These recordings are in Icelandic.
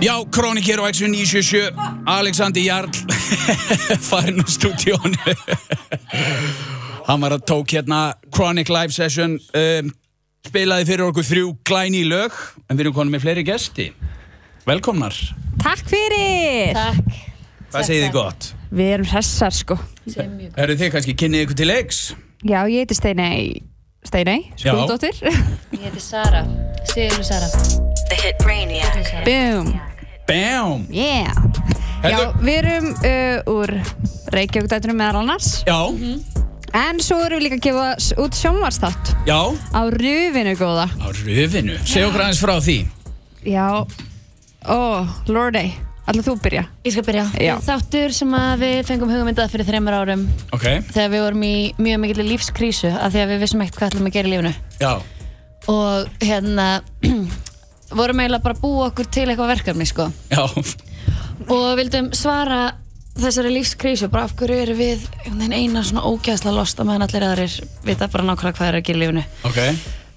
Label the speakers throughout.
Speaker 1: Já, Krónikir og Exxon 977 Alexander Jarl farin úr stúdíónu Hann var að tók hérna Chronic Live Session um, spilaði fyrir okkur þrjú glæni lög en við erum konum með fleiri gesti Velkomnar
Speaker 2: Takk fyrir
Speaker 3: Takk.
Speaker 1: Hvað segið þið gott?
Speaker 2: Við erum hressar sko
Speaker 1: Eru þið kannski kynnið ykkur til leiks?
Speaker 2: Já, ég heiti Steinei Steinei,
Speaker 1: Já.
Speaker 2: skoðdóttir
Speaker 3: Ég heiti Sara. Sigurlu Sara.
Speaker 4: The Hit Brainiac.
Speaker 2: Boom,
Speaker 1: Bam!
Speaker 2: yeah Já,
Speaker 1: Herðu-
Speaker 2: við erum uh, úr Reykjavík dættunum meðal annars
Speaker 1: Já,
Speaker 2: Mhm. En svo erum við líka að gefa s- út sjónvarstátt
Speaker 1: já
Speaker 2: Á rufinu góða
Speaker 1: Á röfinu, segja okkur aðeins frá því
Speaker 2: Já, ó, lordi Alla þú byrja
Speaker 3: Ég skal byrja.
Speaker 2: Já.
Speaker 3: Þáttur sem að við fengum hugmyndað fyrir þreymur árum
Speaker 1: Ok,
Speaker 3: þegar við vorum í mjög mikill lífskrísu af því að við vissum ekkert hvað ætlum að gera í lífinu.
Speaker 1: já,
Speaker 3: Og hérna vorum eiginlega bara að búa okkur til eitthvað verkefni sko.
Speaker 1: já
Speaker 3: Og vildum svara þessari lífskrísu, bara af hverju eru við einhvern veginn eina svona ógæðsla lost á meðan allir aðrir vita bara nákvæmlega hvað er að gera í lífinu.
Speaker 1: Ok,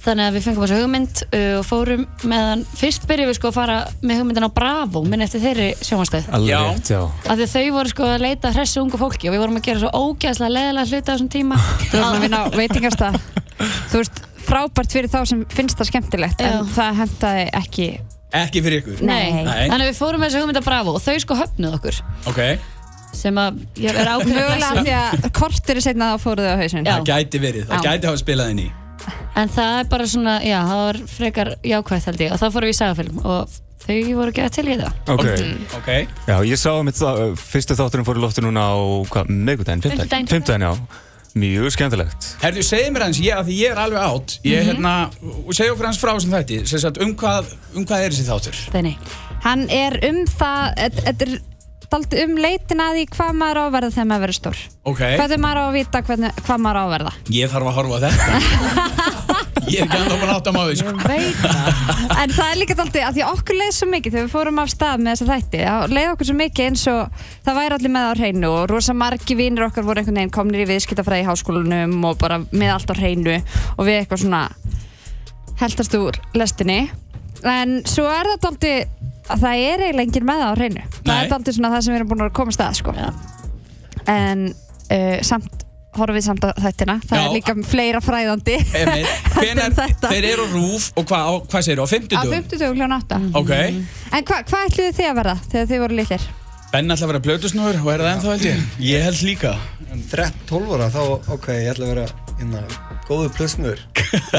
Speaker 3: Þannig að við fengum þessu hugmynd uh, og fórum meðan, fyrst byrjuðum við sko að fara með hugmyndin á Bravo, minn eftir þeirri sjónvastöð.
Speaker 5: Alveg
Speaker 1: Já.
Speaker 5: rétt, já.
Speaker 3: Af því að þau voru sko að leita að hressu ungu fólki og við vorum að gera svo ógæðslega leðilega hluti á þessum tíma.
Speaker 2: Þú erum að vinna á veitingasta Þú veist, frábært fyrir þá sem finnst það skemmtilegt
Speaker 3: Já.
Speaker 2: En það hendaði ekki
Speaker 1: ekki fyrir ykkur
Speaker 2: Nei.
Speaker 1: Nei.
Speaker 3: Þannig að við fórum með þessu hugmynd á Bravo og þau sko höfnuð okkur
Speaker 1: Ok,
Speaker 3: sem að ég er
Speaker 2: Mögulega af
Speaker 3: ákveðið
Speaker 2: því að kortir setna þá fóruðu á hausin
Speaker 3: Já.
Speaker 1: það gæti verið, það
Speaker 2: Já.
Speaker 1: gæti hafa spilað inn í
Speaker 3: en það er bara svona, já, það var frekar jákvæð held ég og þá fórum við í sagafilm og þau voru að gera til í það.
Speaker 5: Ok.
Speaker 1: Ok,
Speaker 5: Já, ég sá mitt það, fyrstu þátturinn fór í loftu núna á, hvað, miðgudaginn,
Speaker 3: Fimmtudaginn.
Speaker 5: fymtudaginn? Fymtudaginn, já. Mjög skemmtilegt.
Speaker 1: herðu, segðu mér hans, ég, af því ég er alveg átt Ég, hérna, og segðu okkur hans frá sem þætti sem sagt, um, hvað, um hvað er þessi þáttur?
Speaker 3: Þeini.
Speaker 2: Hann er um það þetta- Þetta er daldið um leitin að því hvað maður á að verða þegar maður verður stór
Speaker 1: Ok,
Speaker 2: Hvað er maður á að vita hvernig, hvað maður á að verða
Speaker 1: ég þarf að horfa á þetta Ég er ekki andan búin að átta maður sko.
Speaker 3: Veit það.
Speaker 2: En það er líka daldið að því okkur leið svo mikið þegar við fórum af stað með þessa þætti þá leið okkur svo mikið eins og það væri allir með á hreinu og rosa margi vinnir okkar voru einhvern veginn komnir í viðskiptafræði í háskólanum og bara með allt á hreinu og við eitthvað svona heldast úr lestinni en svo er það daldið að það er eiginlega enginn með það á hreinu það
Speaker 1: Nei.
Speaker 2: er daldið svona það sem við erum búin að komast að sko. en uh, samt horfum við samt á þættina það
Speaker 1: Já.
Speaker 2: er líka fleira fræðandi
Speaker 1: Emil, Hvenær,
Speaker 2: um þetta.
Speaker 1: þeir eru á rúf og hvað, á- hvað segir þú, á
Speaker 2: á
Speaker 1: fimmtudum?
Speaker 2: 50 kljón 8
Speaker 1: Ok,
Speaker 2: En hva, hvað ætluðu þið að verða þegar þið voru litlir?
Speaker 1: Ben ætla að vera blötusnúður og er það ennþá held ég Ég held líka
Speaker 6: 13-12 ára þá ok, ég ætla að vera hérna, góðu plötsnur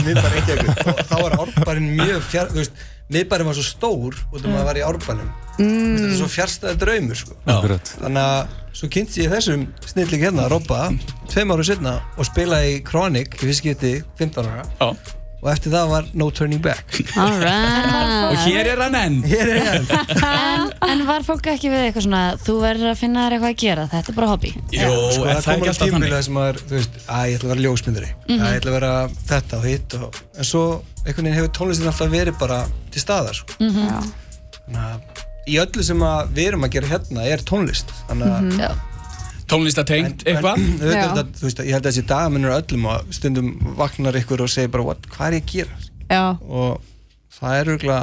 Speaker 6: miðbæri ekki eitthvað þá var árbærin mjög fjar þú veist, miðbærin var svo stór út um að vera í árbænum mm. þetta er svo fjarstæði draumur sko.
Speaker 5: Akkurat.
Speaker 6: þannig að svo kynnti ég þessum snilling hérna, Robba, tveim áru setna og spilaði í Chronic í visskipti 15 ára
Speaker 1: Já.
Speaker 6: og eftir það var No Turning Back
Speaker 1: Og hér er hann enn
Speaker 6: hér er ég
Speaker 3: En, en var fólk ekki við eitthvað svona þú verður að finna þér eitthvað að gera, þetta er bara hobby
Speaker 1: Jó,
Speaker 6: sko,
Speaker 1: er það
Speaker 6: það komur
Speaker 1: ekki
Speaker 6: á
Speaker 1: alltaf
Speaker 6: tímabilið
Speaker 1: þannig? Mhm.
Speaker 6: það sem maður, þú veist, að ég ætla að vera ljósmyndari að ég ætla að vera þetta og hitt og, en svo einhvern veginn hefur tónlistin alltaf verið bara til staðar sko.
Speaker 1: Mhm.
Speaker 3: Mhm.
Speaker 6: þannig að í öllu sem að við erum að gera hérna er tónlist þannig að mm
Speaker 3: Já.
Speaker 1: Tónlistatengt, Mhm. eitthvað?
Speaker 2: Já.
Speaker 6: þetta, þú veist, ég held að þessi dagamunur öllum og stundum vaknar ykkur og segir bara "What, hvað er ég að gera
Speaker 2: Já,
Speaker 6: og það er örgulega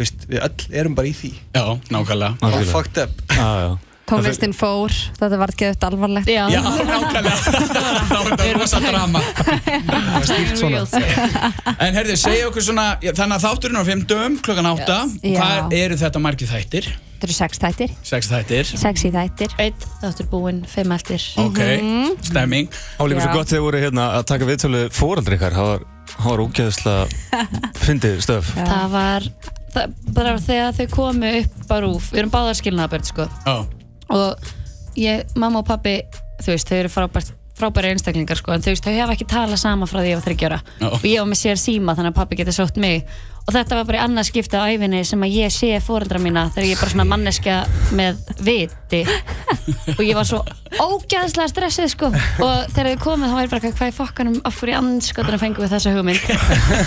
Speaker 6: veist, við öll erum bara í því
Speaker 1: Já, nákvæmlega
Speaker 6: og
Speaker 5: Algjörlega.
Speaker 6: fucked up
Speaker 5: Já, Ah, já.
Speaker 2: tónlistin fór, þetta var geðut alvarlegt.
Speaker 3: Já,
Speaker 1: Já, nákvæmlega Þá er þetta rosa drama
Speaker 6: það er stýrt svona
Speaker 1: En herðu, segja okkur svona já, Þannig að þátturinn er á 5 dögum, klokkan 8
Speaker 2: Yes.
Speaker 1: Hvað
Speaker 2: Já.
Speaker 1: eru þetta margir þættir?
Speaker 2: Þetta eru sex þættir,
Speaker 1: 6 þættir
Speaker 2: sex í þættir.
Speaker 3: Eitt þáttur búinn, fimm eftir
Speaker 1: Ok, stemming
Speaker 5: Það var líka
Speaker 2: Já.
Speaker 5: svo gott þegar voru hérna að taka viðtölu fóraldri ykkar. Það var, það var ógeðslega fyndið stöf.
Speaker 3: Það var það, bara þegar þau komu upp á rúf, við erum báðar skilnaðabörn sko.
Speaker 1: Já,
Speaker 3: og ég, mamma og pappi þú veist, þau eru frábært frábæri einstaklingar sko, en þú veist, þau hefa ekki talað sama frá því ég var þryggjara
Speaker 1: Já.
Speaker 3: og ég var með sér síma þannig að pappi geti sótt mig og þetta var bara í annað skipta á æfinni sem að ég sé fóreldra mína þegar ég er bara svona manneskja með viti og ég var svo ógæðslega stressið sko og þegar þau komið þá var ég bara hvað í fokkanum af hverju anskotunum fengum við þessa hugmynd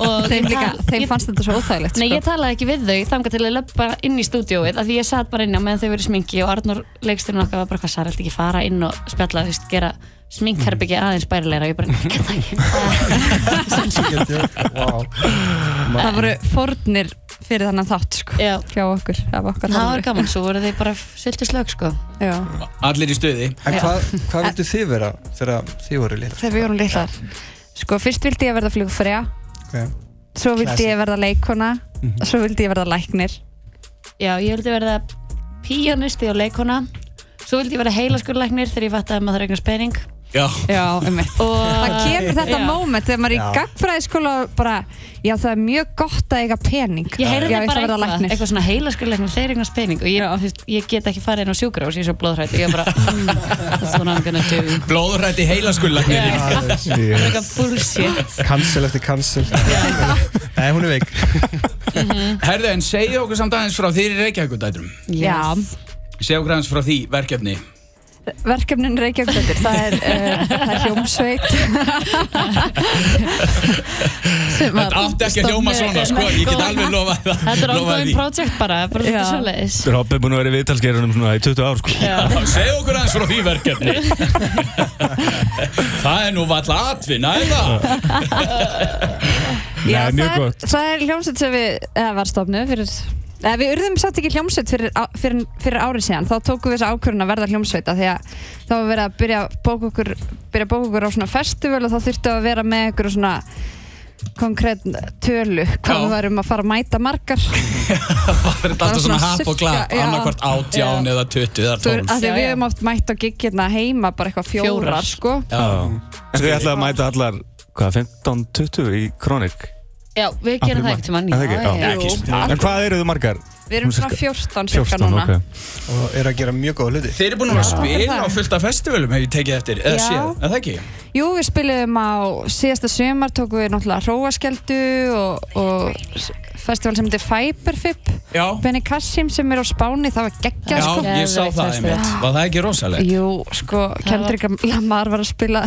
Speaker 3: og
Speaker 2: Þeim,
Speaker 3: ég
Speaker 2: líka,
Speaker 3: tal-
Speaker 2: þeim
Speaker 3: ég-
Speaker 2: fannst þetta svo óþægilegt.
Speaker 3: Nei,
Speaker 2: sko.
Speaker 3: ég talaði ekki við þau þangað til að löpa inn í stúdióið af því ég satt bara inn á meðan þau verið sminki og Arnur leiksturinn okkar var bara hvað Sara, ætti ekki fara inn og spjalla, þú veist, gera sminkherbyggi aðeins bærilegra, ég bara, "Nei, ég get það ekki
Speaker 6: wow.
Speaker 2: það voru fórnir fyrir þannan þátt sko,
Speaker 3: Já.
Speaker 2: hjá okkur af okkar
Speaker 3: það
Speaker 2: hálfu.
Speaker 3: var gaman, svo voru þið bara sultu slög sko
Speaker 2: Já.
Speaker 1: Allir í stuði
Speaker 6: En hvað hva vildu þið vera þegar þið voru lilla?
Speaker 2: þegar við vorum litlar sko, fyrst vildi ég verða flugfrega
Speaker 6: Okay.
Speaker 2: svo vildi
Speaker 6: Classic.
Speaker 2: ég verða leikona svo vildi ég verða læknir
Speaker 3: já, ég vildi verða píanisti og leikona svo vildi ég verða heilaskurlæknir þegar ég fatt að maður þarf eignast pening
Speaker 1: Já,
Speaker 2: já, um
Speaker 3: og
Speaker 2: það kemur þetta
Speaker 3: Já.
Speaker 2: moment þegar maður er í
Speaker 6: Já.
Speaker 2: gagfræðiskóla og bara, já það er mjög gott að eiga pening
Speaker 3: ég heyrði
Speaker 2: já,
Speaker 3: það
Speaker 2: ætla
Speaker 3: bara
Speaker 2: að verða
Speaker 3: eitthvað,
Speaker 2: læknir
Speaker 3: eitthvað svona heilaskurlæknir þegar ég eignast pening og ég, þú veist, ég get ekki farið inn á sjúkra og ég er svo blóðhrætt ég er bara, mm, that's what I'm gonna do
Speaker 1: blóðurætti heilaskullagnir yeah.
Speaker 3: Eitthvað bullshit
Speaker 6: Cancel eftir cancel Nei, hún er veik
Speaker 1: Herðu, en segja okkur samt aðeins frá þýri Reykjavíkudætrum
Speaker 2: Já,
Speaker 1: Segja okkur aðeins frá því verkefni
Speaker 2: verkefnin Reykjavíkvöldur, það er, uh, það er hljómsveit Sem var
Speaker 1: Þetta átti ekki að
Speaker 2: stofnuð-
Speaker 1: hljóma svona, sko Ég get alveg lofað það
Speaker 3: Þetta er
Speaker 1: lofað
Speaker 3: ongoing
Speaker 1: því.
Speaker 3: project bara, bara
Speaker 2: Já.
Speaker 3: svolítið svoleiðis
Speaker 5: Robby er búin að vera í viðtalsgerunum svona í 20 ár sko
Speaker 1: Já, Segja okkur aðeins frá því verkefni Það er nú valla atvinna, er það?
Speaker 2: Já,
Speaker 5: Nei,
Speaker 2: það
Speaker 5: mjög
Speaker 2: er-
Speaker 5: gott.
Speaker 2: Það er hljómsveit sem við eða, var stofnu fyrir eða, Við urðum satt ekki hljómsveit fyrir, á- fyrir, fyrir árið síðan þá tókum við þessa ákvörðun að verða hljómsveita því að þá var verið að byrja að bóka okkur, byrja að bóka okkur á svona festival og þá þurftu að vera með ykkur svona konkrétt tölu
Speaker 1: Já.
Speaker 2: hvað við varum að fara að mæta margar
Speaker 1: Það er alltaf svona
Speaker 2: svona
Speaker 1: hap og
Speaker 2: cirka,
Speaker 1: glapp
Speaker 2: já.
Speaker 1: Annarkvort átján eða tuttu eða
Speaker 2: Þú veist,
Speaker 1: tólf
Speaker 2: af því að
Speaker 3: Já,
Speaker 2: við
Speaker 3: já.
Speaker 2: höfum oft mætt á gig hérna heima bara eitthvað fjórar,
Speaker 3: Fjórar.
Speaker 2: sko
Speaker 1: Já.
Speaker 5: En þið ætlaði að mæta allar, hvað, 15-20 í Kronik
Speaker 3: Já, við gerum það ekkert mann
Speaker 5: Er það ekki? Já.
Speaker 3: já,
Speaker 1: Ekki
Speaker 3: jú.
Speaker 1: smá.
Speaker 5: En hvað eru þið margar?
Speaker 2: Við erum svona
Speaker 5: Músika.
Speaker 2: 14 cirka
Speaker 5: 14,
Speaker 2: núna
Speaker 5: ok
Speaker 6: Og er að gera mjög góða hluti
Speaker 1: Þeir eru búin að vera að spila
Speaker 2: það.
Speaker 1: á fullt af festivalum hef ég tekið eftir, eða
Speaker 2: Já.
Speaker 1: séð, er það ekki?
Speaker 2: Jú, við spilum á síðasta sömar tókum við náttúrulega hróaskjöldu og, og s- festival sem heitir Fiberfib
Speaker 1: Já,
Speaker 2: Benny Kassim sem er á Spáni, það var
Speaker 1: já,
Speaker 2: geggja sko.
Speaker 1: ég sá
Speaker 3: Geðveikt
Speaker 1: það
Speaker 3: festival.
Speaker 1: einmitt, var það ekki rosalegt?
Speaker 2: Jú, sko, Kendrick Lamar var að spila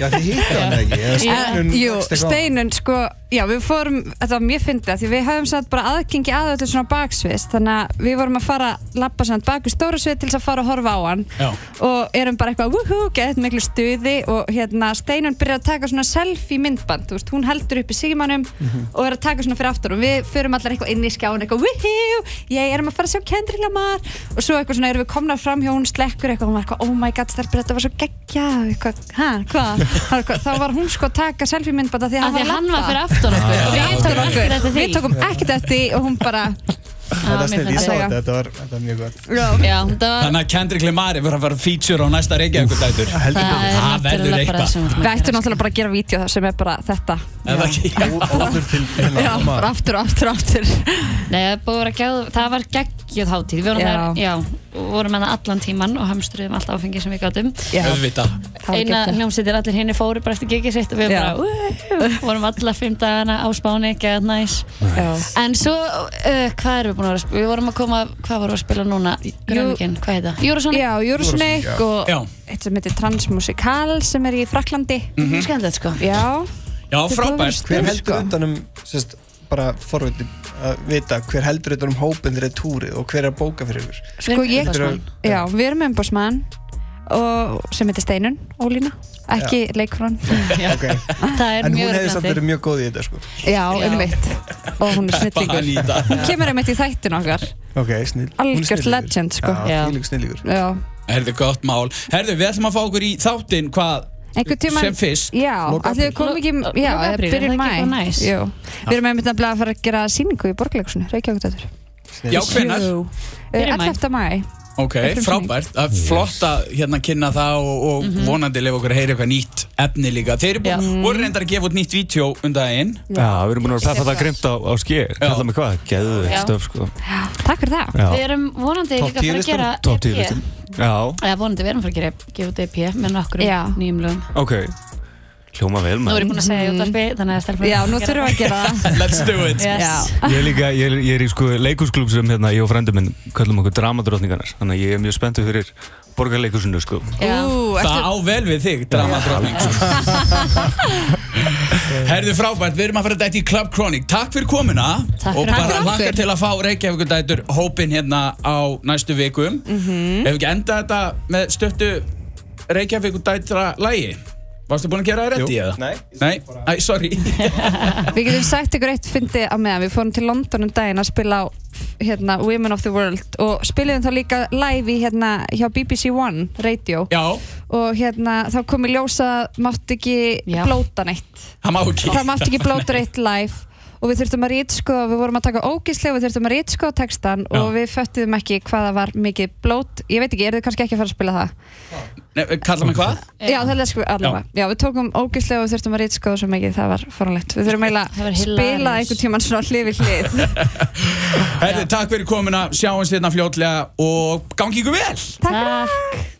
Speaker 6: Já, þið hitt hann ekki eða Steinunn
Speaker 2: Jú,
Speaker 6: rakst eitthvað á.
Speaker 2: Steinun, sko, já, við fórum þetta var mjög fyndið, af því við höfum samt bara aðgengi að öllu svona baksvist, þannig að við vorum að fara, lappa samt baku stóra svið til þess að fara og horfa á hann
Speaker 1: Já.
Speaker 2: og erum bara eitthvað, woohoo, gett miklu stuði og hérna, Steinun byrjar að taka svona selfie myndband, þú veist, hún heldur upp í símanum og er að taka svona fyrir aftur og við förum allar eitthvað inn í skjáin, eitthvað, woohoo ég erum að fara að sjá Kendrick Lamar og svo eitthvað svona erum við komna fram hjá hún slekkur eitthvað, hún var eitthvað, oh my god, stelpur, þetta var svo geggja eitthvað, hæ, hvað Það var eitthvað, þá var hún sko að taka selfie myndband af því að
Speaker 3: Af
Speaker 2: hann
Speaker 3: því
Speaker 2: var
Speaker 3: að
Speaker 2: að
Speaker 3: hann var fyrir
Speaker 2: labba.
Speaker 3: aftan okkur
Speaker 1: Ah.
Speaker 2: Eftir okkur.
Speaker 3: og við tókum ekkert eftir því
Speaker 2: Við tókum ekkert eftir því og hún bara
Speaker 6: Þetta
Speaker 3: Já,
Speaker 6: er snill,
Speaker 3: mér
Speaker 6: ég
Speaker 2: finnst
Speaker 6: sá þetta,
Speaker 2: það.
Speaker 6: þetta var, þetta var mjög gott
Speaker 3: Já, þetta var
Speaker 1: Þannig að Kendrick Lamar er verið að fara að feature á næsta Reykjavíkudætur
Speaker 3: Það er
Speaker 1: Það verður
Speaker 3: náttúrulega bara
Speaker 1: eitthvað.
Speaker 3: sem
Speaker 2: Við ættum náttúrulega bara að gera vídeo sem er bara þetta
Speaker 1: Er það ekki?
Speaker 6: Óður til hérna
Speaker 2: Já,
Speaker 6: mamma.
Speaker 2: bara aftur og aftur og aftur
Speaker 3: Nei, það er búið að vera gæð, það var geggjöð hátíð Við vorum
Speaker 2: Já.
Speaker 3: þar, já, og vorum með það allan tíman og hamstruðum allt áfengi sem við gáttum
Speaker 2: Já,
Speaker 1: Auðvitað
Speaker 2: það var
Speaker 3: Eina
Speaker 2: geggjað.
Speaker 3: hljómsveitir allir hinni fóru bara eftir gigið sitt og við
Speaker 2: Já.
Speaker 3: bara "Woo!" vorum alla fimm dagana á spáni, geðað næs
Speaker 2: Já.
Speaker 3: En svo, uh, hvað erum við búin að vera að spila? Við vorum að koma, hvað vorum við að spila núna? Gröningin, hvað heit það? Júrasson?
Speaker 2: Já, Júrusneik og
Speaker 1: Já.
Speaker 2: eitt sem heitir Transmusikal sem er í Fraklandi
Speaker 1: Mm.
Speaker 3: Skemmtilegt sko
Speaker 2: Já,
Speaker 1: Já,
Speaker 2: Þetta var
Speaker 1: frábært
Speaker 2: stuð.
Speaker 6: Hver
Speaker 2: Sko.
Speaker 6: heldur utan um sérst, bara forvitni að vita hver heldur utan um hópin þeirra túrið og hver er að bóka fyrir ykkur
Speaker 2: sko ég
Speaker 6: umboðsmann.
Speaker 2: Já, við erum umbásmann og sem heitir Steinun, Ólína ekki leikfrón
Speaker 6: okay.
Speaker 3: Það er
Speaker 6: En hún
Speaker 3: mjög
Speaker 6: hefði samt
Speaker 3: reglandi
Speaker 6: verið mjög góð í þetta sko.
Speaker 2: Já, einmitt og hún er
Speaker 1: Peppa
Speaker 2: snillingur
Speaker 1: Anita
Speaker 2: Hún kemur einmitt í þættin okkar
Speaker 6: Ok, snill Hún er
Speaker 2: Algjört
Speaker 6: snillingur.
Speaker 2: legend, sko.
Speaker 6: Já,
Speaker 3: Já.
Speaker 6: fílík snillíkur
Speaker 2: Já,
Speaker 1: Herðu, gott mál Herðu, við ætlum að fá okkur í þáttinn hvað
Speaker 2: einhver tíma
Speaker 1: Sem fyrst.
Speaker 2: já,
Speaker 6: Lok
Speaker 2: af því við komum ekki
Speaker 3: Lok-
Speaker 2: já,
Speaker 3: lok
Speaker 2: eða
Speaker 3: apríl,
Speaker 2: byrjun
Speaker 3: er það
Speaker 2: mæ
Speaker 3: ekki eitthvað næs?
Speaker 2: Jú. við erum einmitt nefnilega að fara að gera síningu í borgarleikusinu, Reykjavíkdættur
Speaker 1: Já, hvenar?
Speaker 3: Byrjun maí.
Speaker 2: 11. mæ
Speaker 1: Ok,
Speaker 2: Þetta er
Speaker 1: frábært Það er flott að hérna kynna það og, og
Speaker 2: Mhm.
Speaker 1: vonandi lefa okkur að heyra eitthvað nýtt efni líka Þeir eru búin, voru reyndar að gefa út nýtt vídeo um daginn
Speaker 5: Já, við erum búin að vera að peppa það grimt á, á skýr Kalla mig hvað, geðu
Speaker 3: Já.
Speaker 5: stöf sko
Speaker 2: takk fyrir það
Speaker 5: Já,
Speaker 3: Við erum vonandi
Speaker 6: Topp
Speaker 3: líka að fara
Speaker 6: 10
Speaker 3: að gera
Speaker 5: top 10
Speaker 3: EP.
Speaker 5: listin Já,
Speaker 3: Já, vonandi við erum að fara að gera E gefa út EP með nokkur
Speaker 2: Já.
Speaker 3: nýjum lögum
Speaker 5: ok Hljóma vel
Speaker 3: Nú er
Speaker 5: maður
Speaker 3: ég búin að segja út af spil þannig að stelpa
Speaker 2: Mhm. já, nú þurfum við að gera það
Speaker 1: Let's do it
Speaker 3: yes.
Speaker 2: já,
Speaker 5: Ég er líka, ég er, ég er í sko leikusklub sem hérna ég og frændum minn kallum okkur dramadrótningarnar Þannig að ég er mjög spenntu fyrir borgarleikusinu sko
Speaker 2: Ú,
Speaker 1: Það á
Speaker 2: ertu-
Speaker 1: vel við þig, dramadröfning Herðu frábært, við erum að fara þetta í Club Chronic Takk fyrir komuna
Speaker 3: Takk
Speaker 1: Og
Speaker 3: fyrir
Speaker 1: bara
Speaker 2: okkur.
Speaker 1: lakkar til að fá Reykjavíkudætur hópin hérna á næstu
Speaker 2: Mhm.
Speaker 1: vikum mm -hmm. Ef ekki enda þetta með stöttu Reykjavíkudætra lægi Varstu búin að gera það reddi
Speaker 6: Jú.
Speaker 1: eða?
Speaker 6: Nei.
Speaker 1: Nei, æ, sorry
Speaker 2: Við getum sagt ykkur eitt fyndi á meðan Við fórum til London um daginn að spila á hérna, Women of the World og spiliðum þá líka live í hérna hjá BBC One Radio
Speaker 1: Já,
Speaker 2: og hérna þá kom í ljós að mátt ekki
Speaker 3: Já.
Speaker 2: blóta neitt
Speaker 1: það má ekki
Speaker 2: það mátt ekki blóta neitt live og við þurftum að rýtskoða, við vorum að taka ógíslega við þurftum að rýtskoða textan og
Speaker 1: Já.
Speaker 2: við föttuðum ekki hvaða var mikið blót ég veit ekki, er þið kannski ekki að fara að spila það
Speaker 1: Nei, Kalla mig hvað?
Speaker 2: Já, það lesum við allavega. Já. við tókum ógíslega og við þurftum að rýtskoða svo mikið, það var fórhaldlegt. Við þurfum
Speaker 3: Það
Speaker 2: eiginlega
Speaker 3: var
Speaker 2: að spila
Speaker 3: hilarious.
Speaker 2: einhvern tíman svona hlið við hlið.
Speaker 1: Herðu, takk fyrir komuna, sjáumst hérna fljótlega og gangi ykkur vel
Speaker 2: Takk.
Speaker 3: Takk